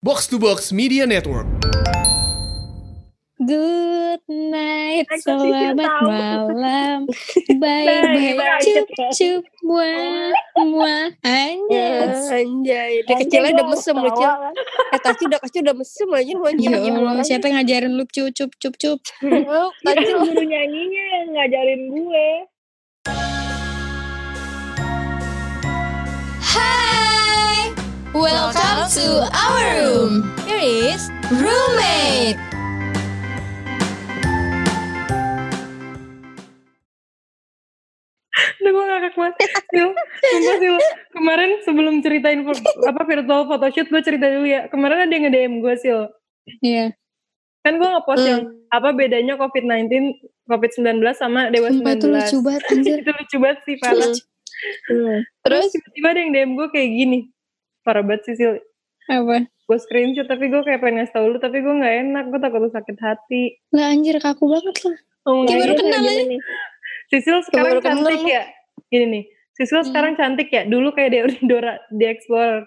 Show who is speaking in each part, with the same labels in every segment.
Speaker 1: Box to Box Media Network.
Speaker 2: Good night,
Speaker 3: Aku sih
Speaker 2: selamat
Speaker 3: tahu.
Speaker 2: malam, bye bye,
Speaker 3: Bye-bye.
Speaker 2: cup cup, muah muah,
Speaker 3: Eh,
Speaker 2: anjas.
Speaker 3: Anjay, dia kecilnya udah mesum lu Cil. Eh tadi udah kecil udah mesum aja lu anjing.
Speaker 2: Ya Allah, siapa yang ngajarin lu cup cup cup cup?
Speaker 3: Lu, Tadi lu
Speaker 4: guru nyanyinya yang ngajarin gue.
Speaker 2: Hai, welcome to our room. Here is roommate.
Speaker 4: Aduh gue ngakak banget. Sil, sumpah, Sil. Kemarin sebelum ceritain fo- apa virtual photoshoot gue cerita dulu ya. Kemarin ada yang nge-DM gue Sil.
Speaker 2: Iya,
Speaker 4: Kan gue nge-post yang
Speaker 2: Hmm.
Speaker 4: apa bedanya COVID-19, COVID-19 sama Dewa
Speaker 2: sumpah
Speaker 4: 19.
Speaker 2: itu lucu banget anjir.
Speaker 4: Itu lucu banget sih, parah. Terus tiba-tiba ada yang DM gue kayak gini. Parah banget sih Sil.
Speaker 2: Apa?
Speaker 4: Gue screenshot tapi gue kayak pengen ngasih tau lu. Tapi gue gak enak, gue takut lu sakit hati.
Speaker 2: Lah anjir kaku banget lah. Kayak
Speaker 4: Oh, nggak
Speaker 2: baru
Speaker 4: enak.
Speaker 2: kenal ya. aja.
Speaker 4: Sisil
Speaker 3: baru
Speaker 4: sekarang
Speaker 3: kenal
Speaker 4: cantik
Speaker 3: lu.
Speaker 4: ya. Gini nih, Sisil
Speaker 2: Hmm.
Speaker 4: sekarang cantik ya. Dulu kayak Dewi Dora di Explorer.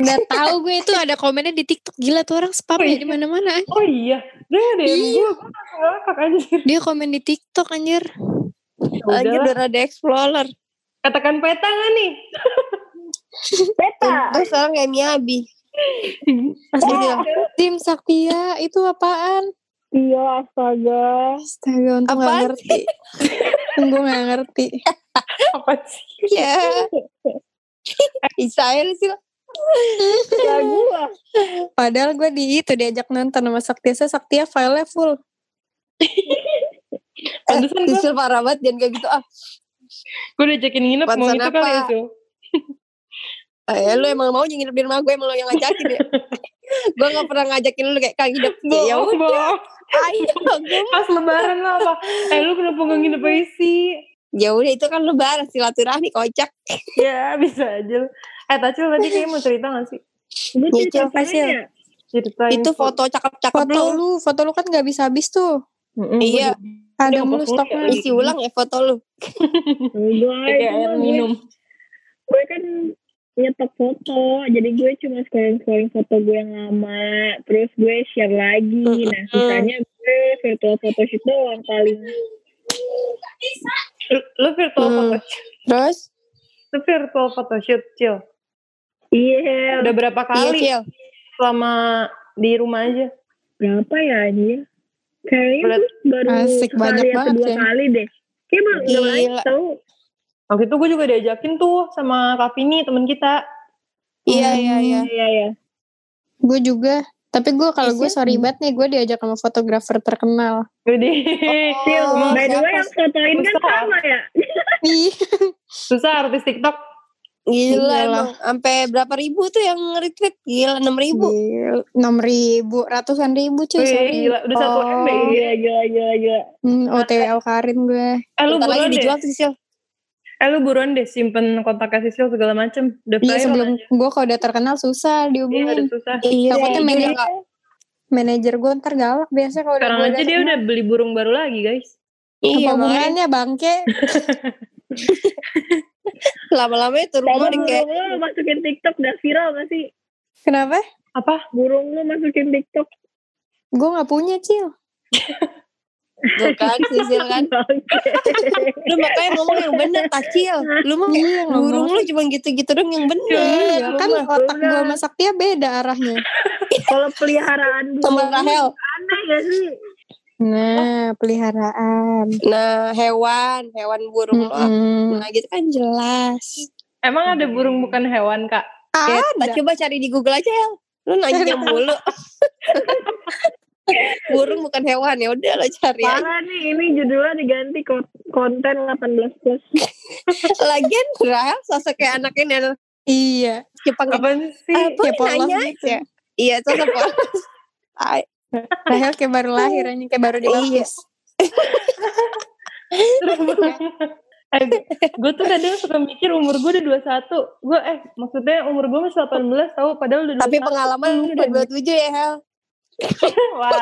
Speaker 2: Udah tahu gue itu ada komennya di TikTok gila tuh orang spam ya di mana-mana.
Speaker 4: Oh iya, dia ada yang gue ngakak anjir.
Speaker 2: Dia komen di TikTok anjir.
Speaker 3: anjir
Speaker 4: Udah,
Speaker 3: udah Eh, ada explorer.
Speaker 4: katakan peta gak nih?
Speaker 3: Terus sekarang kayak Miabi. Asli dia.
Speaker 5: Iya,
Speaker 2: Tim Saktia itu apaan?
Speaker 4: Iya, astaga.
Speaker 2: Astaga, untung gak
Speaker 3: Apaan
Speaker 2: ngerti. untung gue gak ngerti. Iya.
Speaker 4: Apa sih?
Speaker 3: Ya. Isael sih lah.
Speaker 2: Padahal gue di itu diajak nonton sama Saktia. Saya Saktia filenya full.
Speaker 4: Pantesan gue,
Speaker 3: Sisil parah banget jangan kayak gitu ah.
Speaker 4: gue diajakin nginep mau
Speaker 3: Pantesan
Speaker 4: gitu kali ya,
Speaker 3: apa?
Speaker 4: Sil.
Speaker 3: Eh, lu emang mau nginep di rumah gue emang lu yang ngajakin ya. gue gak pernah ngajakin lu kayak kang hidup ya
Speaker 4: Bohong, bohong.
Speaker 3: ayo gue
Speaker 4: Pas lebaran lah apa? Eh, lu kenapa gak nginep
Speaker 3: Iya.
Speaker 4: aja sih?
Speaker 3: ya udah itu kan lebaran silaturahmi kocak
Speaker 4: Ya, bisa aja. lu. Eh, Tacil tadi kayaknya mau cerita gak sih?
Speaker 3: Ya, Cil, Fasil.
Speaker 4: Ceritain
Speaker 3: itu foto cakep-cakep
Speaker 2: Foto
Speaker 3: lu
Speaker 2: lu, foto lu kan gak habis-habis tuh.
Speaker 4: Mm-mm, gua
Speaker 3: Iya.
Speaker 4: udah-
Speaker 2: Ada
Speaker 4: Udah,
Speaker 2: mulu
Speaker 4: foto lu
Speaker 2: stoknya.
Speaker 4: ya.
Speaker 3: isi ulang ya foto lu
Speaker 4: Kayak air Gue minum. gue kan nyetok foto, jadi gue cuma scrolling-scrolling foto gue yang lama, terus gue share lagi. Nah, sisanya gue virtual photoshoot doang paling. Lu virtual
Speaker 3: Hmm.
Speaker 4: photoshoot?
Speaker 3: terus
Speaker 4: Lu virtual photoshoot, Cil?
Speaker 5: Iya,
Speaker 4: Udah berapa
Speaker 3: iya
Speaker 4: kali
Speaker 3: Cil
Speaker 4: selama di rumah aja?
Speaker 5: berapa ya ini? Kayaknya
Speaker 4: Berat.
Speaker 5: tuh baru
Speaker 2: Asik,
Speaker 5: sekali
Speaker 2: banyak
Speaker 5: atau
Speaker 2: banget
Speaker 5: dua
Speaker 2: ya.
Speaker 5: kali deh. Kayak baru udah banyak
Speaker 3: Gila.
Speaker 5: tau.
Speaker 4: Waktu itu gue juga diajakin tuh sama Kak Vini, temen kita.
Speaker 3: iya
Speaker 4: Hmm.
Speaker 3: iya iya
Speaker 5: Iya, iya.
Speaker 2: Gue juga. Tapi gue kalau gue sorry banget nih, gue diajak sama fotografer terkenal.
Speaker 4: Gede.
Speaker 3: Cil,
Speaker 4: Emang
Speaker 5: By the way,
Speaker 3: Oh, siapa
Speaker 5: yang fotoin kan
Speaker 4: Mustafa?
Speaker 5: sama ya?
Speaker 2: Ih,
Speaker 4: susah artis TikTok.
Speaker 3: Gila
Speaker 2: Iyalah.
Speaker 3: emang sampai berapa ribu tuh yang retweet? Gila 6 ribu.
Speaker 2: enam ribu, ratusan ribu cuy.
Speaker 4: Wih,
Speaker 2: sorry.
Speaker 4: gila. Udah satu M ya?
Speaker 3: Oh.
Speaker 4: deh.
Speaker 5: Gila, Iya, gila, gila, gila.
Speaker 2: Hmm, OTW Alkarin gue.
Speaker 4: Eh, Nah, lu
Speaker 3: Bentar lagi
Speaker 4: buruan deh.
Speaker 3: dijual tuh Sil.
Speaker 4: Eh, lu buruan deh simpen kontaknya Sisil segala macem. Udah
Speaker 2: Iya
Speaker 4: viral
Speaker 2: sebelum
Speaker 4: aja.
Speaker 2: gue kalau udah terkenal susah
Speaker 4: Iya, udah
Speaker 2: dihubungin.
Speaker 4: susah.
Speaker 3: Iya.
Speaker 2: Takutnya
Speaker 3: iya,
Speaker 2: manajer-
Speaker 3: iya.
Speaker 2: Manajer gue ntar galak biasanya kalau udah
Speaker 4: Sekarang
Speaker 2: gua
Speaker 4: aja dia udah beli burung baru lagi guys.
Speaker 2: Apa
Speaker 3: Iya, makanya
Speaker 2: hubungannya bangke?
Speaker 3: lama-lama itu rumah
Speaker 5: Sama
Speaker 3: di Oh, kayak
Speaker 5: burung lu masukin TikTok udah viral gak sih?
Speaker 2: Kenapa?
Speaker 4: Apa?
Speaker 5: Burung lu masukin TikTok.
Speaker 2: Gue nggak punya cil.
Speaker 3: tuh kan Sisil kan. Lu makanya ngomong yang bener Tacil. Lu mah kayak
Speaker 2: Iya,
Speaker 3: burung lu cuma gitu-gitu dong yang bener.
Speaker 2: Iya, kan
Speaker 5: nggak
Speaker 2: otak
Speaker 5: punya.
Speaker 2: gue sama Saktia beda arahnya.
Speaker 5: Kalau peliharaan
Speaker 3: Sama
Speaker 5: burung
Speaker 3: Rahel.
Speaker 5: aneh gak sih?
Speaker 2: Nah, peliharaan.
Speaker 3: Nah, hewan, hewan burung lu. apa.
Speaker 2: Mm-mm.
Speaker 3: Nah, gitu kan jelas.
Speaker 4: Emang ada
Speaker 3: Hmm.
Speaker 4: burung bukan hewan kak?
Speaker 3: Ya,
Speaker 2: Ada.
Speaker 3: coba cari di Google aja, El. Lu nanya mulu. burung bukan hewan ya udah lo cari aja.
Speaker 5: Parah nih, ini judulnya diganti ko- konten 18 plus.
Speaker 3: Lagian Rahel sosok kayak anaknya nenek
Speaker 2: Iya.
Speaker 3: Jepang
Speaker 4: Apaan sih?
Speaker 3: Apa
Speaker 2: kayak polos
Speaker 3: nanya
Speaker 2: gitu.
Speaker 3: aja? Iya, tetap polos. Ay,
Speaker 2: Rahel Nah, kayak baru lahir, anjing. kayak baru
Speaker 3: Iya.
Speaker 2: dibaptis.
Speaker 4: Terus burung- eh, gue tuh kadang suka mikir umur gue udah 21 Gue eh maksudnya umur gue masih 18 tau padahal udah 21
Speaker 3: tapi pengalaman udah 27 ya, Hel.
Speaker 4: Wah,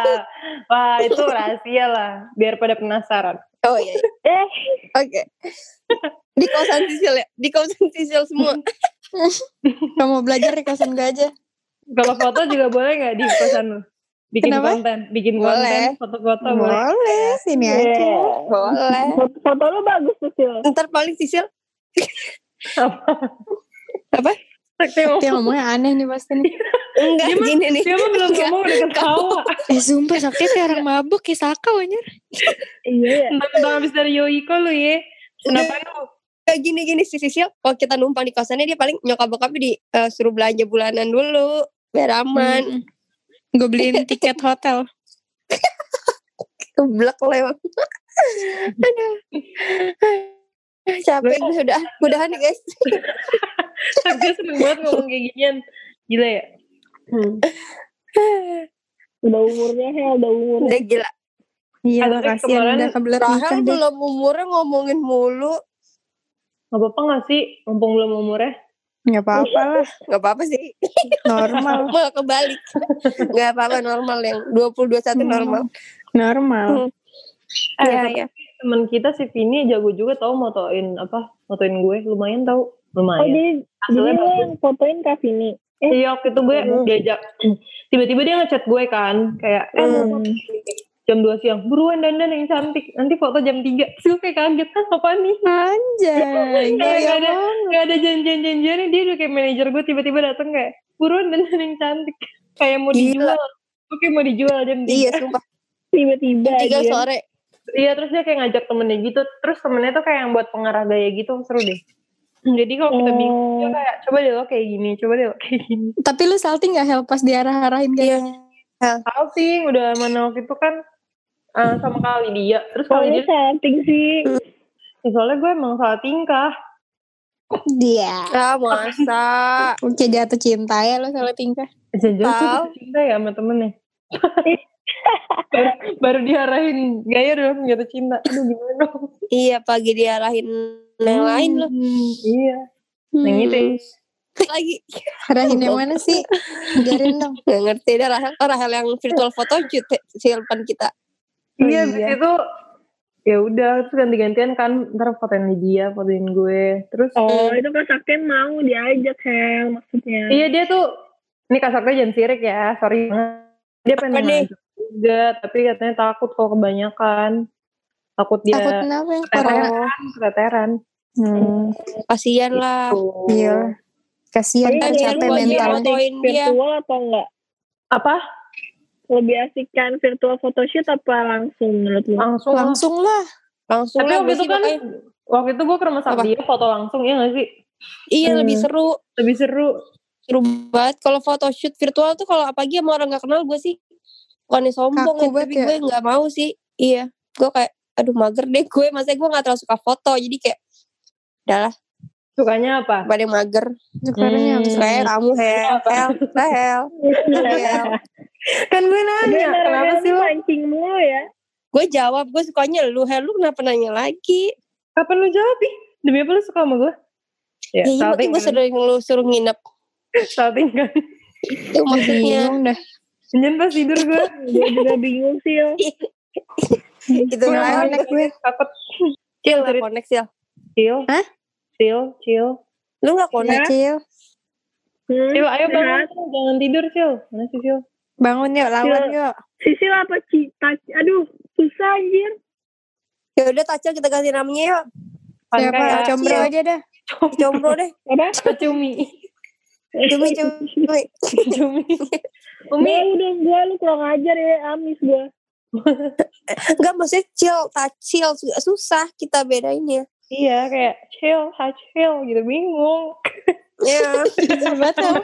Speaker 4: wah itu rahasia lah Biar pada penasaran
Speaker 3: Oh iya. iya.
Speaker 5: Eh,
Speaker 3: Oke. Di kosan sisil ya, di kosan sisil semua.
Speaker 2: Kamu mau belajar di kosan gue aja.
Speaker 4: Kalau foto juga boleh nggak di kosan lu? Bikin
Speaker 2: Kenapa?
Speaker 4: konten, bikin
Speaker 3: Boleh.
Speaker 4: konten, foto-foto boleh.
Speaker 2: Boleh, sini
Speaker 3: Iya,
Speaker 2: aja.
Speaker 3: Boleh.
Speaker 5: Foto, Iya. foto lu bagus tuh Sil.
Speaker 3: Ntar paling sisil
Speaker 4: Sakti mau-
Speaker 2: Dia ngomongnya aneh nih pasti nih.
Speaker 3: enggak
Speaker 4: mah-
Speaker 3: gini nih.
Speaker 4: Dia mah belum
Speaker 3: Enggak.
Speaker 4: ngomong udah ketawa.
Speaker 2: Eh sumpah sakti kayak orang mabuk ya sakau anjir.
Speaker 5: Iya ya.
Speaker 4: Tentang habis dari Yoiko lu ya. Kenapa lu?
Speaker 3: Kayak gini-gini si Sisil, kalau kita numpang di kosannya dia paling nyokap bokapnya disuruh belanja bulanan dulu, biar aman.
Speaker 2: Mm. Gue beliin tiket hotel.
Speaker 3: Keblek lo emang. Aduh. Capek gue udah, mudahan nih guys.
Speaker 4: Sakti seneng banget ngomong kayak ginian. Gila ya?
Speaker 5: Udah umurnya ya, udah umur.
Speaker 3: Udah gila.
Speaker 2: Iya
Speaker 4: Ada
Speaker 2: lah
Speaker 4: kan
Speaker 2: kasihan
Speaker 4: kemarin
Speaker 2: udah kebelet nikah
Speaker 3: Rahel
Speaker 2: deh.
Speaker 3: belum umurnya ngomongin mulu.
Speaker 4: Gak apa-apa gak sih? Mumpung belum umurnya.
Speaker 2: Gak apa-apa lah,
Speaker 3: Gak apa-apa sih.
Speaker 2: normal.
Speaker 3: Malah kebalik. Gak apa-apa normal yang 20-21 normal.
Speaker 2: Normal.
Speaker 4: Eh,
Speaker 3: Iya,
Speaker 4: tapi
Speaker 3: iya.
Speaker 4: Temen kita si Vini jago juga tau motoin apa? Motoin gue. Lumayan tau.
Speaker 5: Oh
Speaker 4: Lumayan.
Speaker 5: jadi, jadi
Speaker 4: Hasilnya
Speaker 5: lu
Speaker 4: bagus.
Speaker 5: yang fotoin Kak Vini. eh.
Speaker 4: Iya, waktu itu gue
Speaker 5: Hmm.
Speaker 4: diajak. Tiba-tiba dia ngechat gue kan. Kayak, eh, mau
Speaker 5: Hmm.
Speaker 4: jam 2 siang. Buruan dandan yang cantik. Nanti foto jam 3. Terus gue kayak kaget. Hah, apaan nih?
Speaker 2: Anjay.
Speaker 4: Kayak gak ada, gak ada janjian-janjiannya. Dia udah kayak manajer gue tiba-tiba dateng kayak, buruan dandan yang cantik. Kayak mau
Speaker 3: Gila.
Speaker 4: dijual. Oke mau dijual jam 3.
Speaker 3: Iya, sumpah.
Speaker 5: Tiba-tiba
Speaker 3: Tiga
Speaker 5: dia.
Speaker 3: sore.
Speaker 4: Iya terus dia kayak ngajak temennya gitu Terus temennya tuh kayak yang buat pengarah gaya gitu Seru deh Jadi kalau kita bingung dia kayak Coba deh lo kayak gini Coba deh lo kayak gini
Speaker 2: Tapi lu salting gak Hel pas diarah-arahin kayak
Speaker 3: Iya.
Speaker 4: Salting udah mana waktu itu kan eh, Sama kali dia Terus
Speaker 5: Oh,
Speaker 4: kali
Speaker 5: ini
Speaker 4: dia
Speaker 5: salting sih.
Speaker 4: "Ih, Soalnya gue emang salah tingkah
Speaker 2: dia.
Speaker 3: Ah, masa.
Speaker 2: Oke jatuh cinta ya lu salah tingkah.
Speaker 4: Jangan-jangan gue
Speaker 3: Tau.
Speaker 4: jatuh cinta ya sama temennya baru, baru diarahin iya gaya udah langsung jatuh cinta Aduh gimana dong
Speaker 3: Iya, pagi diarahin Nah, yang lain loh.
Speaker 4: Hmm, Iya Yang
Speaker 2: Hmm.
Speaker 4: itu ya.
Speaker 3: Lagi.
Speaker 2: Arahin yang mana sih? Ajarin dong.
Speaker 3: Gak ngerti deh Rahel. Oh, Rahel yang virtual foto shoot ya, si Elvan kita.
Speaker 4: Iya, abis itu ya udah terus ganti-gantian kan ntar fotoin dia, fotoin gue. Terus
Speaker 5: Oh, itu Kak Sakti mau diajak, Hel, maksudnya.
Speaker 4: iya dia tuh ini kasarnya jangan sirik ya, sorry banget. Dia pengen
Speaker 3: nih?
Speaker 4: ngajak juga, tapi katanya takut kalau kebanyakan. Takut dia
Speaker 2: Takut kenapa ya, yang corona?
Speaker 4: keteteran, keteteran.
Speaker 2: Hmm.
Speaker 3: Kasian lah.
Speaker 2: Iya. Kasihan
Speaker 5: Tapi
Speaker 2: kan
Speaker 5: dia
Speaker 2: capek
Speaker 5: mau
Speaker 3: buat
Speaker 5: dia
Speaker 2: mentalnya.
Speaker 3: fotoin dia.
Speaker 5: Virtual atau enggak?
Speaker 4: Apa?
Speaker 5: Lebih asik kan virtual photoshoot apa langsung menurut lu?
Speaker 4: Langsung.
Speaker 2: Langsung lah.
Speaker 3: Langsung
Speaker 4: Tapi
Speaker 3: lah
Speaker 4: waktu
Speaker 3: gue
Speaker 4: itu
Speaker 3: sih
Speaker 4: kan
Speaker 3: makanya.
Speaker 4: waktu itu gue ke rumah
Speaker 3: Apa?
Speaker 4: sakti dia foto langsung ya gak sih?
Speaker 3: Iya, lebih
Speaker 5: Hmm.
Speaker 3: seru.
Speaker 4: Lebih seru.
Speaker 3: Seru banget. Kalau foto shoot virtual tuh kalau apalagi sama orang gak kenal gue sih. Bukannya sombong
Speaker 2: Kaku
Speaker 3: ya,
Speaker 2: banget
Speaker 3: tapi
Speaker 2: ya.
Speaker 3: gue gak mau sih. Iya. Gue kayak, aduh mager deh gue. Maksudnya gue gak terlalu suka foto. Jadi kayak,
Speaker 4: Sukanya apa?
Speaker 3: pada yang mager.
Speaker 2: Sekarang yang
Speaker 4: Hmm.
Speaker 3: Kayak kamu, Hel.
Speaker 4: Apa?
Speaker 3: Hel. Hel. Hel.
Speaker 4: Kan gue nanya, kenapa sih lo?
Speaker 5: mancing mulu ya?
Speaker 3: Gue jawab, gue sukanya lu. Hel, lu kenapa nanya lagi?
Speaker 4: Kapan lu jawab? Ih, Demi apa lu suka sama gue? Ya,
Speaker 3: Ya, iya, makanya gue
Speaker 4: salting.
Speaker 3: suruh lu suruh nginep.
Speaker 4: salting kan
Speaker 3: Itu maksudnya.
Speaker 2: bingung dah.
Speaker 4: Jangan Iya, pas tidur gue
Speaker 5: Gue juga bingung sih.
Speaker 2: Iya, gitu
Speaker 3: Itu
Speaker 4: Gue
Speaker 3: kan.
Speaker 2: Konek gue.
Speaker 4: takut
Speaker 3: Cil, gak connect, Cil.
Speaker 4: chill
Speaker 2: Hah?
Speaker 4: chill chill
Speaker 3: Lu gak connect.
Speaker 2: Kecil.
Speaker 5: Hmm.
Speaker 4: chill ayo bangun
Speaker 5: Sehat.
Speaker 4: Cil. jangan tidur chill mana sih chill
Speaker 2: Bangun yuk, lawan yuk.
Speaker 5: Sisil apa cita? Aduh, susah anjir.
Speaker 3: Ya udah Tacil kita ganti namanya yuk.
Speaker 2: Siapa?
Speaker 4: Kayak-
Speaker 2: Combro
Speaker 3: Iya.
Speaker 2: aja dah.
Speaker 3: Jomblo deh.
Speaker 5: Apa?
Speaker 4: cumi
Speaker 3: Cumi, cumi.
Speaker 4: cumi
Speaker 5: Umi.
Speaker 4: umi
Speaker 5: udah gue lu kurang ajar ya, amis gue.
Speaker 3: Enggak, maksudnya Cil, Tacil. Su- Susah kita bedainnya.
Speaker 4: iya kayak chill ha chill gitu bingung
Speaker 3: Ya.
Speaker 2: Batal.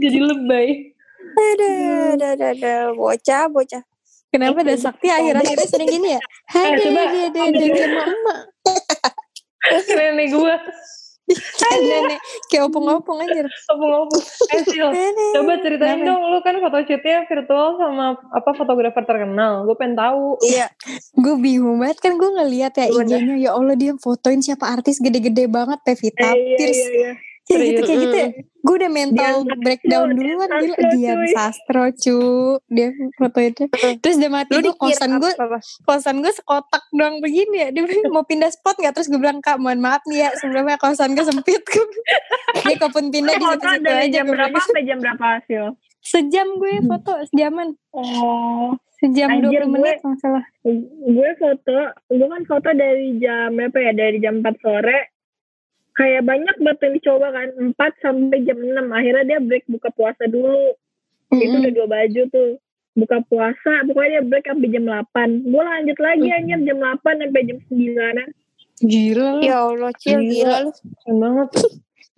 Speaker 4: jadi lebay
Speaker 3: Dadah, dadah, dadah. Bocah, bocah.
Speaker 2: Kenapa dah sakti akhir-akhirnya sering gini ya? Hai,
Speaker 4: coba.
Speaker 2: dia dia dia kayak mama.
Speaker 4: nenek gue
Speaker 2: Kayak nenek,
Speaker 3: Hmm.
Speaker 2: kayak opung-opung anjir.
Speaker 4: ngomong-ngomong eh chill coba ceritain
Speaker 2: Kenapa?
Speaker 4: dong lu kan foto shootnya virtual sama apa fotografer terkenal gue pengen tahu
Speaker 3: Iya.
Speaker 2: Gue bingung banget kan gue ngeliat ya
Speaker 3: Gimana?
Speaker 2: IG-nya ya Allah dia fotoin siapa artis gede-gede banget Pevita
Speaker 5: Eh, iya,
Speaker 2: Pierce
Speaker 5: iya, iya.
Speaker 2: Kayak gitu,
Speaker 4: Serius.
Speaker 2: kayak gitu ya. Gue udah mental
Speaker 6: Dian
Speaker 2: breakdown
Speaker 6: Sastro,
Speaker 2: dulu kan.
Speaker 6: Dian
Speaker 2: Gila,
Speaker 6: Sastro,
Speaker 2: Dian
Speaker 6: cuy.
Speaker 2: Sastro cu. Dia foto itu. Terus dia mati gue kosan gue.
Speaker 4: apa?
Speaker 2: Kosan gue sekotak doang begini ya. Dia bilang, mau pindah spot gak? Terus gue bilang, Kak mohon maaf nih ya. Sebelumnya kosan gue sempit. dia kepun pindah
Speaker 5: Eh,
Speaker 2: di
Speaker 5: foto
Speaker 2: situ-situ
Speaker 5: dari
Speaker 2: aja.
Speaker 5: jam
Speaker 2: Gue bilang,
Speaker 5: berapa sampai jam berapa hasil?
Speaker 2: Sejam gue foto. Sejaman.
Speaker 5: Oh,
Speaker 2: Sejam
Speaker 5: Anjir,
Speaker 2: 20 menit kalau nggak salah.
Speaker 5: gue foto, gue kan foto dari jam berapa ya? Dari jam 4 sore. Kayak banyak banget yang dicoba kan, 4 sampai jam 6. Akhirnya dia break buka puasa dulu. Itu
Speaker 2: Mm-mm.
Speaker 5: udah dua baju tuh. Buka puasa, pokoknya dia break sampai jam 8. Gue lanjut lagi anjir jam 8 sampai jam 9.
Speaker 2: Gila lu.
Speaker 3: Ya Allah, Cil, gila lu.
Speaker 4: Keren banget.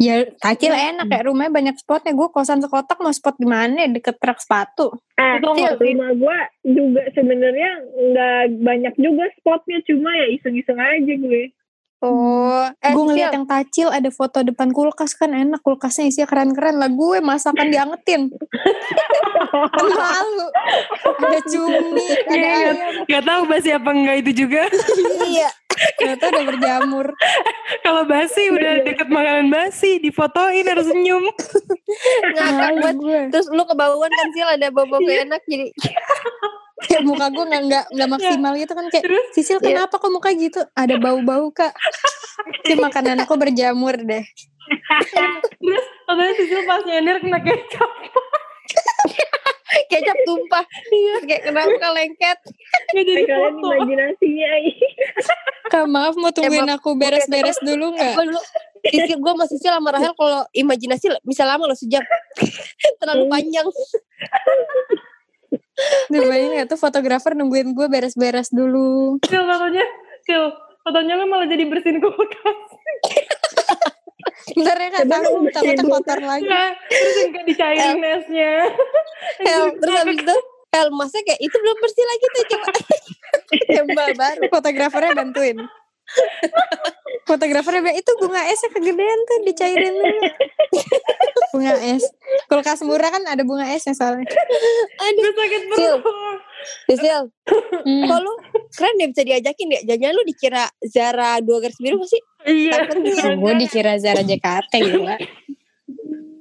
Speaker 2: Ya, kecil enak ya. Rumahnya banyak spotnya. Gue kosan sekotak mau spot di mana? ya? Deket truk sepatu.
Speaker 5: Eh,
Speaker 4: Itu nggak sih?
Speaker 5: rumah gue juga sebenarnya nggak banyak juga spotnya, cuma ya iseng-iseng aja gue.
Speaker 3: Oh,
Speaker 2: gue
Speaker 3: eh, Cil,
Speaker 2: Hmm. ngeliat yang tacil ada foto depan kulkas kan enak kulkasnya isinya keren-keren lah gue masakan diangetin Kan malu ada cumi
Speaker 7: Iya,
Speaker 2: ada
Speaker 7: iya.
Speaker 2: ayam
Speaker 7: Gak tahu basi apa enggak itu juga.
Speaker 2: iya ternyata udah berjamur
Speaker 7: Kalau
Speaker 4: Iya.
Speaker 7: basi udah deket makanan basi, difotoin harus senyum.
Speaker 3: ngakak
Speaker 2: malu
Speaker 3: buat.
Speaker 2: gue
Speaker 3: Terus lu kebauan kan, Cil, ada bobo
Speaker 2: Iya.
Speaker 3: gak enak. Jadi, Iya.
Speaker 2: kayak muka gue nggak nggak nggak maksimal gitu kan kayak
Speaker 7: Terus?
Speaker 2: Sisil kenapa kok muka gitu ada bau-bau kak Kayak makanan aku berjamur deh
Speaker 4: Terus katanya Sisil pas nyender kena kecap.
Speaker 3: kecap tumpah.
Speaker 2: Iya.
Speaker 3: Terus Kayak kenapa lengket.
Speaker 4: Gak jadi
Speaker 5: Eh, kalian
Speaker 4: foto.
Speaker 5: imajinasinya iya. ih.
Speaker 2: kak maaf mau tungguin aku beres-beres dulu nggak
Speaker 3: Gue Eh, dulu, Sisil, gue sama Sisil sama Rahel kalau imajinasi bisa lama loh sejam.
Speaker 2: Hmm.
Speaker 3: Terlalu panjang.
Speaker 2: Lu bayangin nggak tuh fotografer nungguin gue beres-beres dulu
Speaker 4: Sil katanya, Sil fotonya kan malah jadi bersihin kulkas.
Speaker 2: ntar ya kak tanggung takutnya kotor lagi
Speaker 7: Iya.
Speaker 4: Nah, terus yang kayak dicairin esnya.
Speaker 3: Hel, terus habis itu Hel, masa kayak itu belum bersih lagi tuh coba tembal baru
Speaker 2: fotografernya bantuin fotografernya bilang itu bunga esnya kegedean tuh dicairin dulu bunga es kulkas murah kan ada bunga esnya soalnya
Speaker 3: aduh
Speaker 4: Gue sakit
Speaker 3: Sil.
Speaker 4: perut.
Speaker 3: Sisil
Speaker 2: Hmm.
Speaker 3: kok lu keren deh bisa diajakin ya jangan lu dikira Zara dua garis biru gak sih
Speaker 4: Iya.
Speaker 3: takutnya
Speaker 2: gue dikira Zara JKT gitu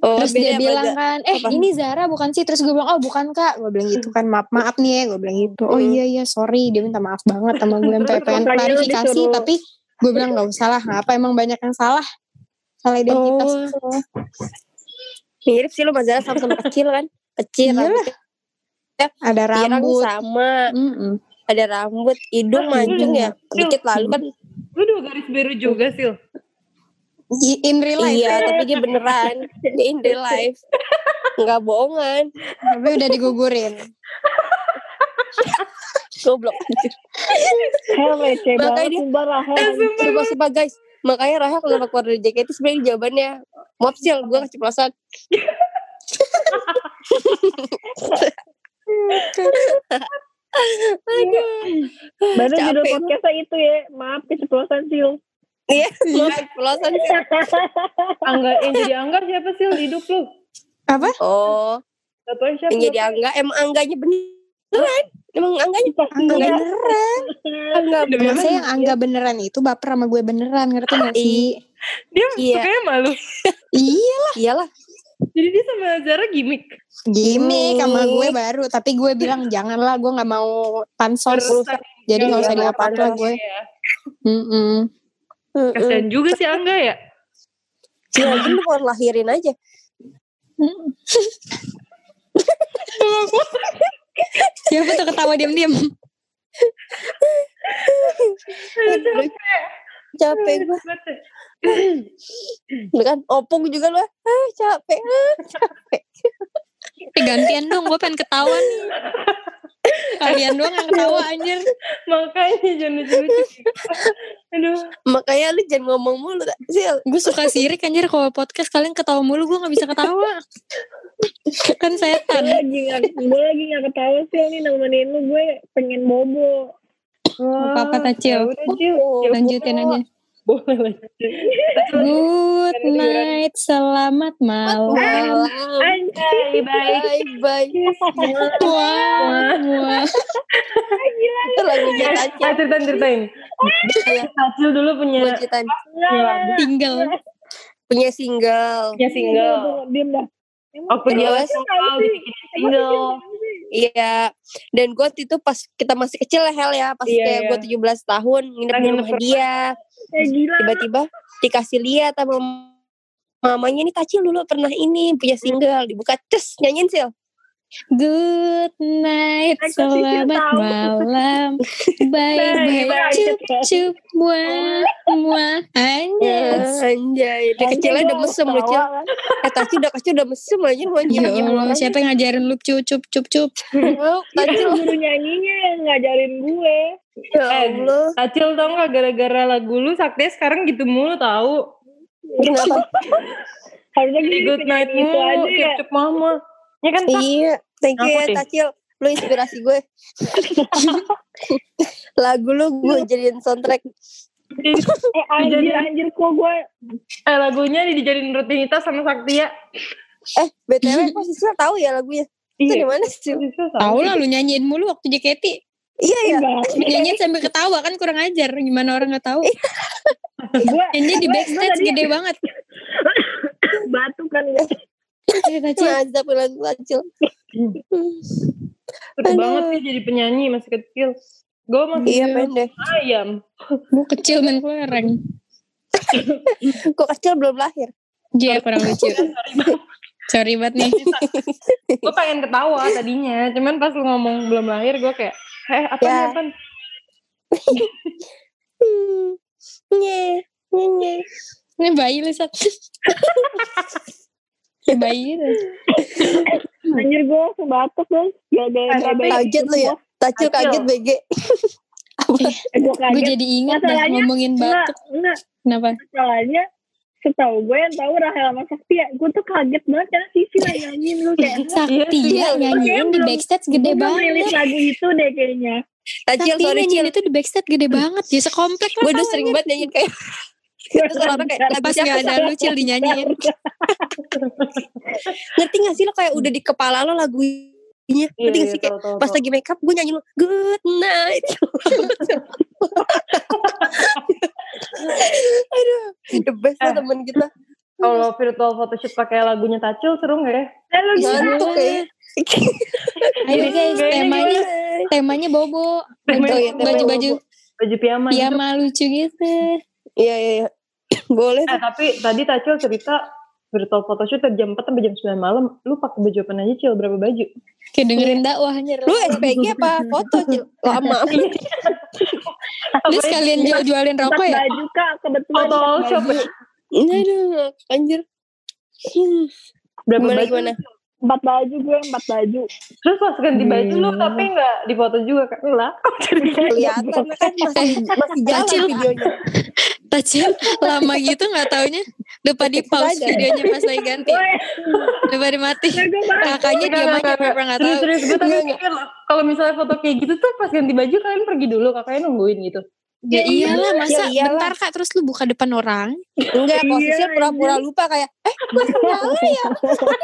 Speaker 3: oh,
Speaker 2: terus dia
Speaker 3: beda
Speaker 2: bilang kan eh
Speaker 3: apa?
Speaker 2: ini Zara bukan sih terus gue bilang oh bukan kak gue bilang gitu kan maaf maaf nih ya gue bilang gitu oh iya iya sorry dia minta maaf banget sama gue sampai pengen
Speaker 5: makanya lu
Speaker 2: klarifikasi
Speaker 5: disuruh-
Speaker 2: tapi gue bilang nggak usah lah apa emang banyak yang salah salah identitas
Speaker 3: Oh.
Speaker 2: gitu.
Speaker 3: mirip sih lu sama Zara sama-sama kecil kan kecil
Speaker 2: Iyalah,
Speaker 3: rambut
Speaker 2: ada
Speaker 3: pirang
Speaker 2: rambut
Speaker 3: sama
Speaker 2: Mm-mm.
Speaker 3: ada rambut hidung
Speaker 4: Ah,
Speaker 3: mancung ya
Speaker 4: Sil.
Speaker 3: dikit lalu kan
Speaker 4: Lu dua garis biru juga, Sil.
Speaker 2: I- in real life
Speaker 3: iya tapi dia beneran dia in real life nggak bohongan
Speaker 2: tapi udah digugurin
Speaker 3: goblok
Speaker 5: Hel receh
Speaker 3: Makanya
Speaker 5: banget
Speaker 3: dia- Eh,
Speaker 5: sumpah lah Hel.
Speaker 3: Sumpah, sumpah guys. Makanya Rahel kenapa keluar dari JKT sebenarnya jawabannya maaf sih gue keceplosan. Aduh.
Speaker 5: Baru judul
Speaker 3: Capek.
Speaker 5: podcastnya itu ya Maaf keceplosan Sil
Speaker 3: Iya, maaf keceplosan sih.
Speaker 4: Angga, yang jadi Angga siapa, Sil, di hidup lu?
Speaker 2: apa
Speaker 3: Oh,
Speaker 4: Gak tau siapa.
Speaker 3: yang jadi angga emang angganya beneran. Emang angganya
Speaker 4: Iya,
Speaker 2: angga beneran
Speaker 3: angga beneran.
Speaker 2: maksudnya yang angga beneran itu baper sama gue beneran ngerti gak sih
Speaker 7: Dia
Speaker 3: Iya.
Speaker 7: sukanya malu.
Speaker 2: iya
Speaker 3: Iyalah.
Speaker 4: Jadi dia sama Zara gimmick.
Speaker 2: gimmick sama gue baru tapi gue bilang janganlah gue nggak mau pansos jadi nggak usah
Speaker 3: Iya,
Speaker 2: diapa lah gue
Speaker 4: Iya.
Speaker 2: Mm-mm.
Speaker 3: Heeh.
Speaker 7: Kasian juga sih Angga ya.
Speaker 3: Iya, mungkin lu mau lahirin aja.
Speaker 2: siapa tuh Iya, ketawa diam-diam
Speaker 4: Iya,
Speaker 3: Capek gue. Kan opung juga lu. Ah, capek.
Speaker 2: Tapi Eh, gantian dong gue pengen ketawa nih kalian doang yang ketawa anjir
Speaker 4: Makanya jangan lucu-lucu. Aduh.
Speaker 3: Makanya lu jangan ngomong mulu. Sil,
Speaker 2: gue suka sirik anjir kalau podcast kalian ketawa mulu gue nggak bisa ketawa kan
Speaker 5: Gue
Speaker 2: setan
Speaker 5: lagi gak, gue lagi gak ketawa Sil nih nemenin lu Gue pengen bobo
Speaker 2: apa apa tacil
Speaker 4: Udah, Sil. Ya
Speaker 2: lanjutin aja
Speaker 4: udah. Boleh lanjutin.
Speaker 2: Good night, selamat
Speaker 4: Oh, iya.
Speaker 2: malam.
Speaker 3: Malam.
Speaker 4: Bye, bye.
Speaker 3: Bye bye.
Speaker 2: Wah, wah.
Speaker 3: Itu lagunya
Speaker 4: Ah,
Speaker 3: Taca.
Speaker 4: Iya. ceritain, ceritain. Tacil Nah, dulu punya
Speaker 3: Gue ceritain.
Speaker 4: punya lagu.
Speaker 2: tinggal.
Speaker 3: punya single.
Speaker 4: Punya single.
Speaker 5: Diam dah.
Speaker 4: Oh, punya
Speaker 2: Iya,
Speaker 3: Terus?
Speaker 4: single, dibikin single.
Speaker 3: Iya. Dan gue waktu itu pas kita masih kecil lah Hel ya. Pas
Speaker 4: Iya,
Speaker 3: kayak gue
Speaker 4: iya.
Speaker 3: 17 tahun nginep
Speaker 4: Kita
Speaker 3: di
Speaker 4: nginep
Speaker 3: rumah
Speaker 4: rumah.
Speaker 3: dia.
Speaker 5: Kayak gila.
Speaker 3: Tiba-tiba dikasih lihat sama mamanya nih Tacil dulu pernah ini punya
Speaker 5: Hmm.
Speaker 3: single. Dibuka ces nyanyiin Sil.
Speaker 2: Good night,
Speaker 5: Aku sih
Speaker 2: selamat
Speaker 5: tahu.
Speaker 2: malam. Bye bye, cup cup, muah muah, anjas.
Speaker 3: Anjay. Dari kecilnya udah mesum lu Cil.
Speaker 5: kan.
Speaker 3: Eh Tacil udah kecil udah mesum aja lu anjing.
Speaker 2: Ya Allah, siapa yang ngajarin lu cup cup cup cup?
Speaker 3: Lu,
Speaker 5: Itu
Speaker 3: Tacil.
Speaker 5: guru nyanyinya yang ngajarin gue.
Speaker 3: Ya
Speaker 4: Eh,
Speaker 3: Allah.
Speaker 4: Tacil tau gak gara-gara lagu lu Saktia sekarang gitu mulu tau
Speaker 3: Kenapa?
Speaker 5: Harusnya
Speaker 4: Jadi good night
Speaker 5: penyanyi itu
Speaker 4: mulu
Speaker 5: aja ya.
Speaker 4: Cup-cup mama Ya kan Kak?
Speaker 3: Iya, thank you
Speaker 4: Aku
Speaker 3: ya
Speaker 4: deh.
Speaker 3: Tacil. Lu inspirasi gue. Lagu lu gue
Speaker 5: Iya.
Speaker 3: jadiin soundtrack.
Speaker 5: Eh anjir anjir kok gue
Speaker 4: Eh lagunya dijadiin rutinitas sama ya? Saktia
Speaker 3: Eh, BTW kok Sisil tahu ya lagunya? Itu
Speaker 4: Iya.
Speaker 3: di mana sih?
Speaker 2: Tahu
Speaker 5: gitu.
Speaker 2: lah lu nyanyiin mulu waktu JKT.
Speaker 3: Iya ya.
Speaker 5: enggak.
Speaker 2: Nyanyiin sambil ketawa kan kurang ajar. Gimana orang nggak tahu?
Speaker 5: Gue
Speaker 2: Nyanyi di backstage gede banget.
Speaker 5: batu kan gue.
Speaker 2: Iya, Tacil.
Speaker 3: Mazda pilihan Tacil.
Speaker 4: Seru
Speaker 3: Aduh.
Speaker 4: banget sih jadi penyanyi masih kecil Gue masih
Speaker 3: Iya pendek.
Speaker 4: ayam
Speaker 2: Gue kecil main kelereng.
Speaker 3: Gue kecil belum lahir.
Speaker 2: Iya, kurang lucu. Sorry banget nih.
Speaker 4: Gue pengen ketawa tadinya Cuman pas lu ngomong belum lahir gue kayak Eh apa
Speaker 3: Ya.
Speaker 4: nih apa nih?"
Speaker 3: Hmm. Nye, nye, nye.
Speaker 2: Ini bayi lu, Sat. Ini bayi lu.
Speaker 5: Anjir gue langsung batuk dong. Gak ada
Speaker 4: Eh, tapi-
Speaker 3: Kaget lu ya? Tacil
Speaker 4: Tacil.
Speaker 3: kaget BG.
Speaker 5: Gue
Speaker 2: Gue
Speaker 5: kaget.
Speaker 2: jadi ingat dah
Speaker 5: Masalahnya,
Speaker 2: ngomongin
Speaker 5: Enggak,
Speaker 2: batuk.
Speaker 5: enggak.
Speaker 2: Kenapa?
Speaker 5: Masalahnya setahu gue yang tahu Rahel sama Saktia. Gue tuh kaget banget karena Sisi yang nyanyiin lu kayak.
Speaker 4: iya.
Speaker 2: Saktia nyanyiin di
Speaker 5: belum-
Speaker 2: backstage gede
Speaker 5: Gue belum
Speaker 2: banget.
Speaker 5: rilis lagu itu deh kayaknya.
Speaker 3: Tacil,
Speaker 2: Saktia
Speaker 3: sorry
Speaker 2: nyanyiin
Speaker 3: Cil.
Speaker 2: itu di backstage gede banget. Ya sekomplek lah.
Speaker 3: Gue udah sering banget nyanyiin kayak Terus orang-orang kayak lagu
Speaker 2: Pas
Speaker 3: siapa
Speaker 2: gak ada lucil dinyanyiin.
Speaker 3: Ngerti gak sih lo kayak udah di kepala lo lagunya
Speaker 4: Iya,
Speaker 3: Ngerti gak
Speaker 4: iya,
Speaker 3: sih kayak
Speaker 4: tahu, tahu,
Speaker 3: pas
Speaker 4: tahu.
Speaker 3: lagi make up gue nyanyi lo Good night Aduh The best lah
Speaker 4: Eh.
Speaker 3: temen kita
Speaker 4: Kalau virtual photoshoot pakai lagunya Tacil seru gak ya?
Speaker 3: Iya,
Speaker 5: Eh lu gila.
Speaker 3: Ngantuk kayaknya
Speaker 2: Ayo guys, temanya temanya bobo.
Speaker 4: Temanya
Speaker 3: Oh iya, temanya
Speaker 2: Baju-baju
Speaker 4: Baju piyama gitu.
Speaker 2: piyama lucu gitu.
Speaker 3: Iya iya iya Boleh
Speaker 4: Eh, tapi tadi Tacil cerita virtual photoshoot dari jam 4 sampai jam 9 malam. Lu pakai baju apa aja, Cil? Berapa baju?
Speaker 2: Kayak dengerin dakwah anjir.
Speaker 3: Lu SPG apa foto Cil? Lama
Speaker 2: Lu sekalian jual-jualin
Speaker 5: Empat
Speaker 2: rokok ya?
Speaker 5: baju kak kebetulan.
Speaker 4: Foto
Speaker 5: empat
Speaker 4: shop
Speaker 5: baju.
Speaker 4: ya?
Speaker 3: Aduh anjir Hmm.
Speaker 4: Berapa
Speaker 3: Gimana,
Speaker 4: baju?
Speaker 3: gimana?
Speaker 5: Empat baju gue empat baju.
Speaker 4: Terus pas ganti baju lu tapi nggak dipoto juga kan? Lah,
Speaker 3: Kelihatan kan masih masih jalan
Speaker 2: Tacil.
Speaker 3: videonya
Speaker 2: Tacil lama gitu nggak taunya lupa di pause
Speaker 3: aja.
Speaker 2: videonya pas lagi ganti lupa dimatiin
Speaker 5: Gue banget.
Speaker 2: kakaknya dia aja
Speaker 4: Nggak, nggak, nggak.
Speaker 2: pernah nggak
Speaker 4: Serius,
Speaker 2: tahu
Speaker 4: serius. Gue
Speaker 3: Nggak,
Speaker 4: tapi
Speaker 3: nggak.
Speaker 4: mikir loh, kalau misalnya foto kayak gitu tuh pas ganti baju kalian pergi dulu, kakaknya nungguin gitu.
Speaker 2: ya iyalah masa
Speaker 3: Ya iyalah.
Speaker 2: bentar kak terus lu buka depan orang
Speaker 3: Enggak posisinya
Speaker 5: Iya,
Speaker 3: pura-pura lupa kayak Eh gue kenalan ya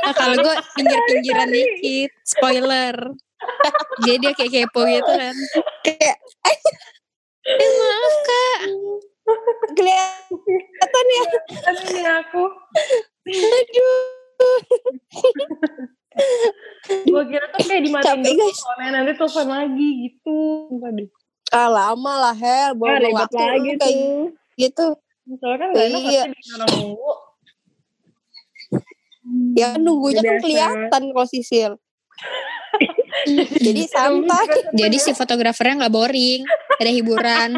Speaker 2: nah, kalau gue pinggir pinggiran dikit spoiler jadi dia kayak kepo gitu kan
Speaker 3: Kayak
Speaker 2: eh maaf kak
Speaker 3: kelihatan ya
Speaker 4: Aduh, ini aku. Aduh. Gue kira tuh kayak dimatiin
Speaker 3: Capek,
Speaker 4: dulu,
Speaker 3: guys.
Speaker 4: soalnya nanti telepon lagi gitu. Sumpah deh.
Speaker 3: Ah lama lah Hel
Speaker 5: Ah,
Speaker 3: Bawa
Speaker 5: ribet
Speaker 3: waktu
Speaker 5: lagi
Speaker 3: lu kayak
Speaker 5: tuh.
Speaker 3: gitu
Speaker 4: Soalnya kan gak enak
Speaker 3: Iya.
Speaker 4: pasti bikin orang nunggu.
Speaker 3: Ya kan nunggunya kan
Speaker 5: Biasa.
Speaker 3: kelihatan kalau sisil. Jadi santai.
Speaker 2: jadi si fotografernya nggak boring ada hiburan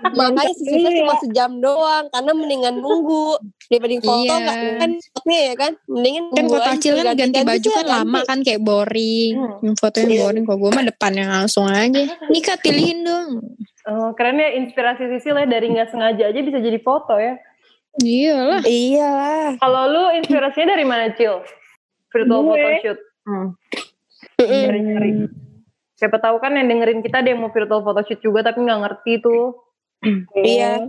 Speaker 3: Makanya sisilnya cuma sejam doang karena mendingan nunggu daripada foto
Speaker 2: Iya.
Speaker 3: nggak kan nih ya kan mendingan
Speaker 2: kan
Speaker 3: nunggu
Speaker 2: kalau
Speaker 3: aja,
Speaker 2: tacil kan ganti baju
Speaker 3: aja,
Speaker 2: kan lama
Speaker 3: ganti.
Speaker 2: kan kayak boring
Speaker 4: Hmm.
Speaker 2: fotonya boring kok gue mah depannya langsung aja nih kak pilihin dong
Speaker 4: Oh, keren ya inspirasi Sisil ya dari nggak sengaja aja bisa jadi foto ya.
Speaker 2: iyalah
Speaker 3: Iya lah.
Speaker 4: Kalau lu inspirasinya dari mana Cil? Virtual
Speaker 5: Gue.
Speaker 4: photoshoot. Hmm. Cari-cari. Siapa tahu kan yang dengerin kita ada yang mau virtual photoshoot juga tapi nggak ngerti tuh.
Speaker 3: Iya.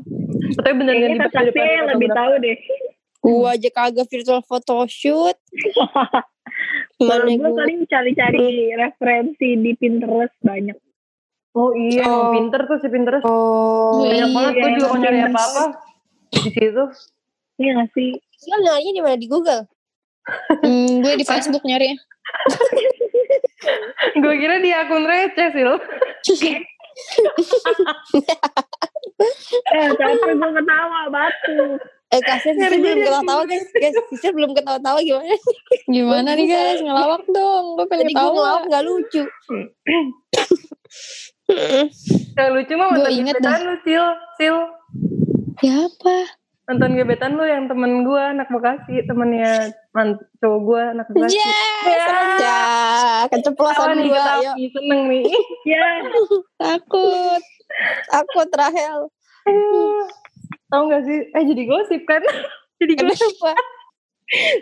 Speaker 4: Tapi bener
Speaker 5: Ini
Speaker 4: nggak
Speaker 5: pasti yang lebih tahu deh.
Speaker 3: Gua aja kagak virtual photoshoot.
Speaker 5: Kalau
Speaker 3: Mana
Speaker 5: gue
Speaker 3: gua?
Speaker 5: paling cari-cari referensi di Pinterest banyak.
Speaker 4: Oh iya,
Speaker 3: Oh.
Speaker 4: emang pinter tuh si Pinterest. Iya,
Speaker 3: Oh.
Speaker 4: Banyak banget gue
Speaker 5: iya,
Speaker 4: juga mau nyari
Speaker 5: Pinterest.
Speaker 4: apa-apa di situ.
Speaker 5: Iya gak sih?
Speaker 3: Lo nyarinya di mana di Google?
Speaker 2: Hmm, gue di Facebook nyari.
Speaker 4: Gue kira di akun receh sih lo.
Speaker 5: Eh, capek gue ketawa, batu.
Speaker 3: Eh kasih Sisil belum ketawa-tawa guys. Guys, Sisil belum ketawa-tawa gimana?
Speaker 2: Gimana nih guys, ngelawak dong. Gue pengen
Speaker 3: Tadi gue ngelawak
Speaker 2: tahu.
Speaker 3: gak lucu.
Speaker 4: Yang lucu mah
Speaker 2: Gua
Speaker 4: nonton
Speaker 2: inget
Speaker 4: gebetan lu, Sil. Sil.
Speaker 2: Siapa?
Speaker 4: Nonton gebetan lu yang temen gue, anak Bekasi. Temennya man, cowok gue, anak Bekasi.
Speaker 2: Ya,
Speaker 4: serem
Speaker 3: Ya,
Speaker 4: Ketawa
Speaker 3: keceplosan Iya.
Speaker 4: nih,
Speaker 3: gue.
Speaker 4: ketawa
Speaker 3: Yuk,
Speaker 4: nih, seneng nih. Iya.
Speaker 5: Ya,
Speaker 2: takut.
Speaker 3: aku Rahel.
Speaker 4: Aduh. Tau gak sih? Eh jadi gosip kan? jadi
Speaker 3: Eh,
Speaker 4: gosip.
Speaker 3: apa?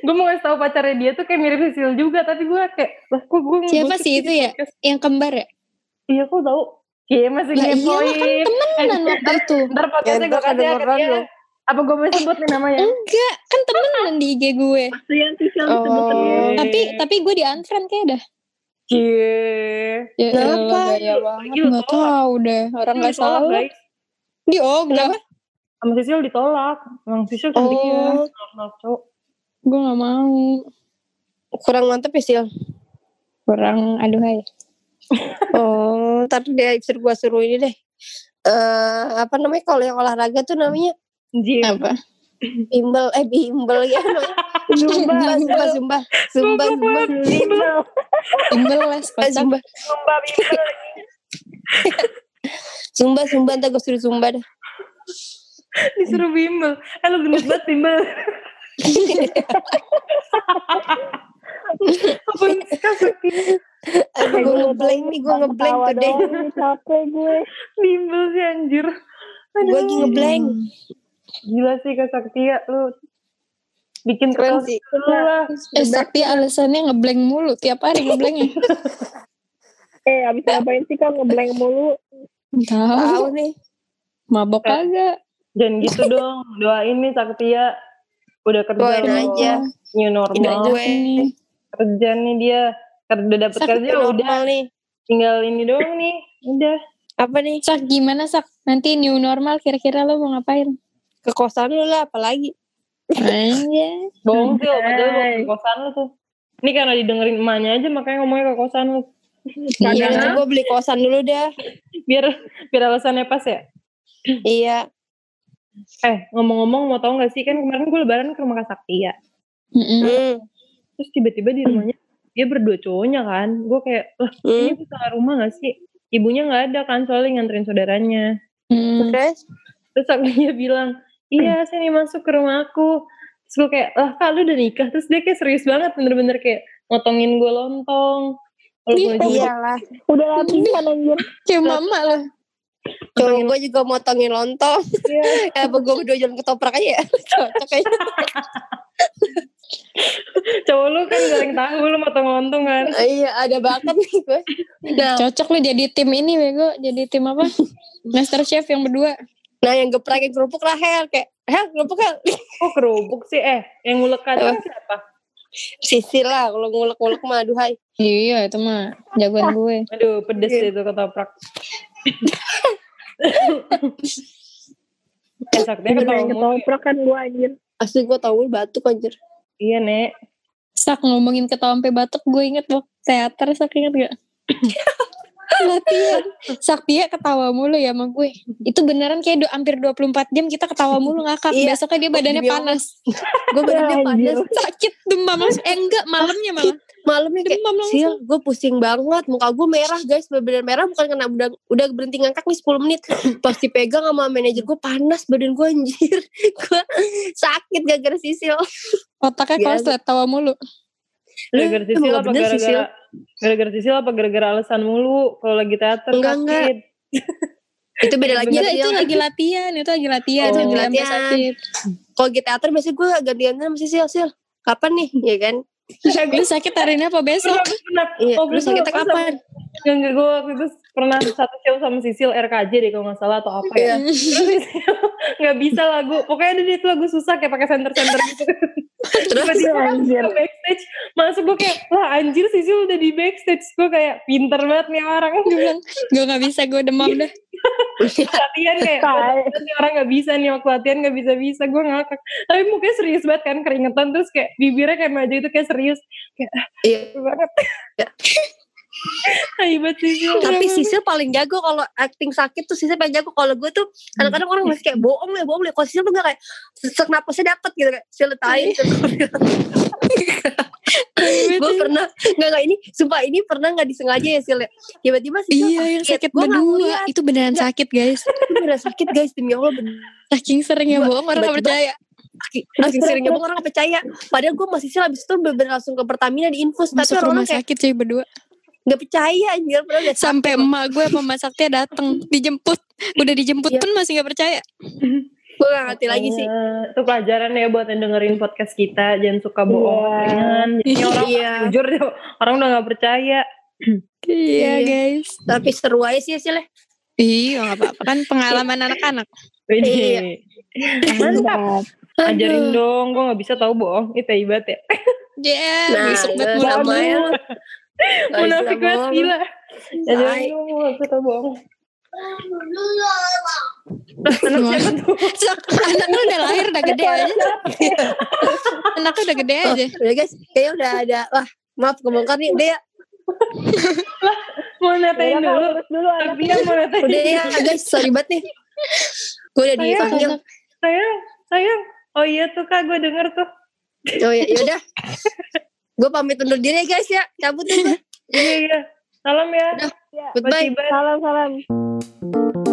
Speaker 4: gue mau ngasih tau pacarnya dia tuh kayak mirip Sisil juga. Tapi gue kayak, lah kok gue
Speaker 2: Siapa sih itu ya? Yang kembar ya?
Speaker 4: Iya, aku tau. Iya, masih
Speaker 2: Lah
Speaker 4: ngepoin.
Speaker 2: iyalah, kan Temenan waktu itu.
Speaker 4: Ntar podcastnya
Speaker 3: Ya, ntar
Speaker 4: gue kasih ya ke
Speaker 3: kedengeran
Speaker 4: dia.
Speaker 3: loh.
Speaker 4: Apa gue boleh sebut nih namanya?
Speaker 2: Enggak, kan temenan di IG gue.
Speaker 5: tuh yang sosial disebut-sebut.
Speaker 4: Oh.
Speaker 2: Tapi tapi gue di unfriend kayak dah.
Speaker 4: Cie.
Speaker 2: Ya,
Speaker 3: Kenapa?
Speaker 2: elah, gaya banget. Nggak tahu deh, orang nggak
Speaker 4: Ditolak,
Speaker 2: salah.
Speaker 4: guys.
Speaker 2: Di ogah.
Speaker 4: Sama Sisil ditolak. Emang Sisil sama dia.
Speaker 3: Oh.
Speaker 4: Ditolak, ya. cowok.
Speaker 2: Gue nggak mau.
Speaker 3: Kurang mantep ya, Sil.
Speaker 2: Kurang aduhai.
Speaker 3: Oh, ntar dia suruh gua suruh ini deh. Eh, apa namanya kalau yang olahraga tuh namanya
Speaker 4: Jim.
Speaker 2: Apa?
Speaker 3: bimbel eh bimbel ya namanya.
Speaker 2: Zumba,
Speaker 3: zumba zumba zumba zumba
Speaker 4: Bimbel.
Speaker 2: Timbel les
Speaker 3: zumba
Speaker 2: kocak.
Speaker 3: zumba
Speaker 4: Zumba bimbel.
Speaker 3: zumba zumba ntar gua suruh zumba deh.
Speaker 4: Disuruh bimbel. Eh lu gendut banget bimbel. Apa sih?
Speaker 3: Aduh, gua ngeblank nih gua ngeblank
Speaker 5: Ketawa
Speaker 3: tuh deh.
Speaker 5: doang, capek gue.
Speaker 4: Bimbel sih anjir.
Speaker 3: Gua lagi ngeblank.
Speaker 4: Gila sih Kak Saktia lu. Bikin
Speaker 3: Keren
Speaker 4: ketawa
Speaker 3: sih.
Speaker 4: Lu lah.
Speaker 2: Eh, tapi alasannya ngeblank mulu. Tiap hari ya. ngeblanknya.
Speaker 5: Eh, abis ngapain sih kan ngeblank mulu?
Speaker 2: Tahu.
Speaker 3: Tahu nih.
Speaker 2: Mabok kagak.
Speaker 4: Jangan gitu dong. Doain nih Saktia. Udah kerja
Speaker 3: Doain
Speaker 4: loh.
Speaker 3: aja.
Speaker 4: New
Speaker 3: Tidak
Speaker 4: normal.
Speaker 2: Oh,
Speaker 3: gue.
Speaker 2: Nih.
Speaker 4: Kerja nih dia. Ker- Udah dapet kerja udah.
Speaker 3: Normal nih.
Speaker 4: Tinggal ini doang nih. Udah.
Speaker 3: Apa nih?
Speaker 2: Sak gimana Sak? Nanti new normal kira-kira lo mau ngapain? Iya.
Speaker 3: Ke kosan lu lah apalagi. Iya.
Speaker 2: Aja.
Speaker 4: Bohong sih, padahal gue
Speaker 5: Anjay.
Speaker 4: ke kosan lu tuh. Ini karena didengerin emaknya aja makanya ngomongnya ke kosan lu.
Speaker 3: Iya, nanti gua beli kosan dulu dah.
Speaker 4: Biar biar alasannya pas ya.
Speaker 3: Iya.
Speaker 4: Eh, ngomong-ngomong mau tau gak sih kan kemarin gue lebaran ke rumah Kak Sakti ya.
Speaker 2: Mm-mm.
Speaker 3: Hmm.
Speaker 4: Terus tiba-tiba di rumahnya dia berdua cowoknya kan. Gue kayak, lah
Speaker 3: Hmm.
Speaker 4: ini tuh salah rumah gak sih? Ibunya gak ada kan soalnya nganterin saudaranya.
Speaker 2: Mm.
Speaker 5: Hmm.
Speaker 3: Terus
Speaker 4: Terus dia bilang, iya saya nih masuk ke rumah aku. Terus gue kayak, lah kak lu udah nikah. Terus dia kayak serius banget bener-bener kayak ngotongin gue lontong. Kalau gue juga
Speaker 3: iyalah.
Speaker 5: Udah latihan anjir.
Speaker 2: Kayak mama lah.
Speaker 3: Cowok gue juga motongin lontong.
Speaker 4: Iya.
Speaker 3: Apa gue berdua jalan ketoprak aja ya? Cocok aja.
Speaker 4: cowok lu kan goreng tahu lu motong lontong kan.
Speaker 3: Iya, ada bakat nih gue. Nah,
Speaker 2: Cocok lo jadi tim ini bego. Jadi tim apa? Master Chef yang berdua.
Speaker 3: nah yang geprakin kerupuk Rahel kayak Hel, kerupuk Hel.
Speaker 4: Kok kerupuk sih? Eh, yang ngulek kan siapa?
Speaker 3: Sisi lah, kalau ngulek-ngulek mah aduhai.
Speaker 2: Iya itu mah jagoan gue.
Speaker 4: Aduh, pedes deh itu ketoprak. eh, sakti
Speaker 5: Udah yang
Speaker 4: ketoprak.
Speaker 5: ketoprak kan gue anjir.
Speaker 3: Asli gue tau lu batuk anjir.
Speaker 4: Iya, Nek.
Speaker 2: Sak ngomongin ketawa sampai batuk gue inget loh teater sak inget gak? latihan Saktia ketawa mulu ya sama gue itu beneran kayak do, hampir 24 jam kita ketawa mulu ngakak
Speaker 3: Iya.
Speaker 2: besoknya dia badannya
Speaker 3: Demi Allah.
Speaker 2: panas
Speaker 3: Gue
Speaker 5: Iya,
Speaker 3: badannya panas.
Speaker 2: sakit demam langsung eh enggak malamnya malah
Speaker 3: Malamnya kayak,
Speaker 2: demam langsung
Speaker 3: Sil, gue pusing banget. Muka gue merah guys, bener-bener merah. Bukan kena udah, udah berhenti ngangkat nih 10 menit. Pas dipegang sama manajer gue panas badan gue anjir. gue sakit gara-gara sisil.
Speaker 2: otaknya
Speaker 3: Iya.
Speaker 2: koslet tawa mulu
Speaker 3: Lu
Speaker 4: Gara-gara sisil
Speaker 3: Eh, emang
Speaker 4: apa
Speaker 3: bener, Sisil.
Speaker 4: gara-gara gara-gara sisil apa gara-gara alasan mulu kalau lagi teater
Speaker 3: Enggak,
Speaker 4: sakit.
Speaker 3: enggak. Itu beda lagi.
Speaker 2: Gila, itu
Speaker 3: Sil.
Speaker 2: lagi latihan itu lagi latihan
Speaker 4: Oh.
Speaker 2: itu lagi sampai
Speaker 3: Latihan.
Speaker 2: sakit
Speaker 3: kalau di teater biasanya gue gantiannya sama Sisil Sil kapan nih ya kan
Speaker 2: lu sakit hari ini apa besok
Speaker 4: Pernah,
Speaker 3: iya
Speaker 4: Oh,
Speaker 3: lu
Speaker 4: betul.
Speaker 3: sakitnya kapan
Speaker 4: enggak, enggak, gue waktu itu pernah satu show sama sisil RKJ deh kalau nggak salah atau apa
Speaker 3: Iya.
Speaker 4: ya. Terus Sisil nggak bisa lagu. Pokoknya ada dia itu lagu susah kayak pakai center-center gitu.
Speaker 3: terus
Speaker 4: Tiba-tiba
Speaker 5: Anjir.
Speaker 4: ke backstage masuk gue kayak lah anjir Sisil udah di backstage gue kayak pinter banget nih orang
Speaker 3: Iya.
Speaker 2: gue bilang gue nggak bisa gue demam dah
Speaker 4: latihan kayak
Speaker 5: Tai.
Speaker 4: ini orang nggak bisa nih waktu latihan nggak bisa bisa gue ngakak tapi mukanya serius banget kan keringetan terus kayak bibirnya kayak maju itu kayak serius kayak ah,
Speaker 3: Iya.
Speaker 4: seru banget hebat sih Sil.
Speaker 3: Tapi Sisil paling jago kalau acting sakit tuh Sisil paling jago. Kalau gue tuh kadang-kadang orang masih kayak bohong ya, bohong ya. Kalau Sisil tuh gak kayak sesek napasnya dapet gitu kayak Sisil tai. gue pernah nggak nggak ini sumpah ini pernah nggak disengaja ya Sil ya. tiba-tiba Sisil
Speaker 2: Iya yang sakit
Speaker 3: Gua nggak
Speaker 2: berdua
Speaker 3: ngeliat.
Speaker 2: Itu beneran
Speaker 3: Nggak.
Speaker 2: sakit guys
Speaker 3: itu beneran sakit guys demi Allah bener.
Speaker 2: Saking sering ya
Speaker 3: Gua
Speaker 2: bohong Orang gak
Speaker 3: tiba-tiba-
Speaker 2: percaya
Speaker 3: Aki- Aki seringnya bohong, orang gak percaya padahal gue masih sih abis itu bener langsung ke Pertamina di infus tapi
Speaker 2: Masuk
Speaker 3: orang,
Speaker 2: rumah
Speaker 3: orang kayak
Speaker 2: sakit cuy berdua
Speaker 3: nggak percaya anjir padahal udah
Speaker 2: Sampai
Speaker 3: sakit.
Speaker 2: emak gue sama Mas Saktia dateng Dijemput Udah dijemput
Speaker 3: Iya.
Speaker 2: pun masih gak percaya
Speaker 3: gue gak ngerti lagi sih
Speaker 4: Makanya, Iya, itu pelajaran ya buat yang dengerin podcast kita jangan suka Iya. bohong Jadi orang
Speaker 3: Iya.
Speaker 4: jujur deh orang udah nggak percaya
Speaker 2: Iya
Speaker 3: Iya.
Speaker 2: guys
Speaker 3: tapi seru aja sih Sil ya.
Speaker 2: Iya gak apa-apa Kan pengalaman anak-anak
Speaker 4: Ini.
Speaker 3: Iya.
Speaker 4: mantap
Speaker 3: Aduh.
Speaker 4: ajarin dong gue nggak bisa tahu bohong itu hebat ya
Speaker 2: Ya
Speaker 3: Nah,
Speaker 2: Besok buat
Speaker 3: lu
Speaker 2: mulai
Speaker 3: sama ya. Nggak bisa
Speaker 4: munafik banget
Speaker 3: bohong.
Speaker 4: gila ajarin
Speaker 3: Tai.
Speaker 4: dong gue nggak bisa tahu bohong anak siapa tuh
Speaker 2: Anak lu udah lahir udah gede aja Anak lu udah gede
Speaker 3: Oh,
Speaker 2: aja
Speaker 3: udah guys, kayaknya udah ada. Wah, maaf kebongkar nih. Udah ya,
Speaker 4: mau
Speaker 5: Udah,
Speaker 4: natain
Speaker 5: Kak,
Speaker 4: dulu
Speaker 5: urus dulu anak.
Speaker 4: tapi mau natain
Speaker 3: udah ya guys, sorry banget nih. Gue udah
Speaker 4: Sayang.
Speaker 3: dipanggil.
Speaker 4: sayang sayang oh iya tuh kak gue denger tuh
Speaker 3: Oh ya, yaudah. Gue pamit undur diri ya guys ya. Cabut deh.
Speaker 4: iya iya salam ya
Speaker 3: Goodbye.
Speaker 4: Mas Iban.
Speaker 5: Salam salam.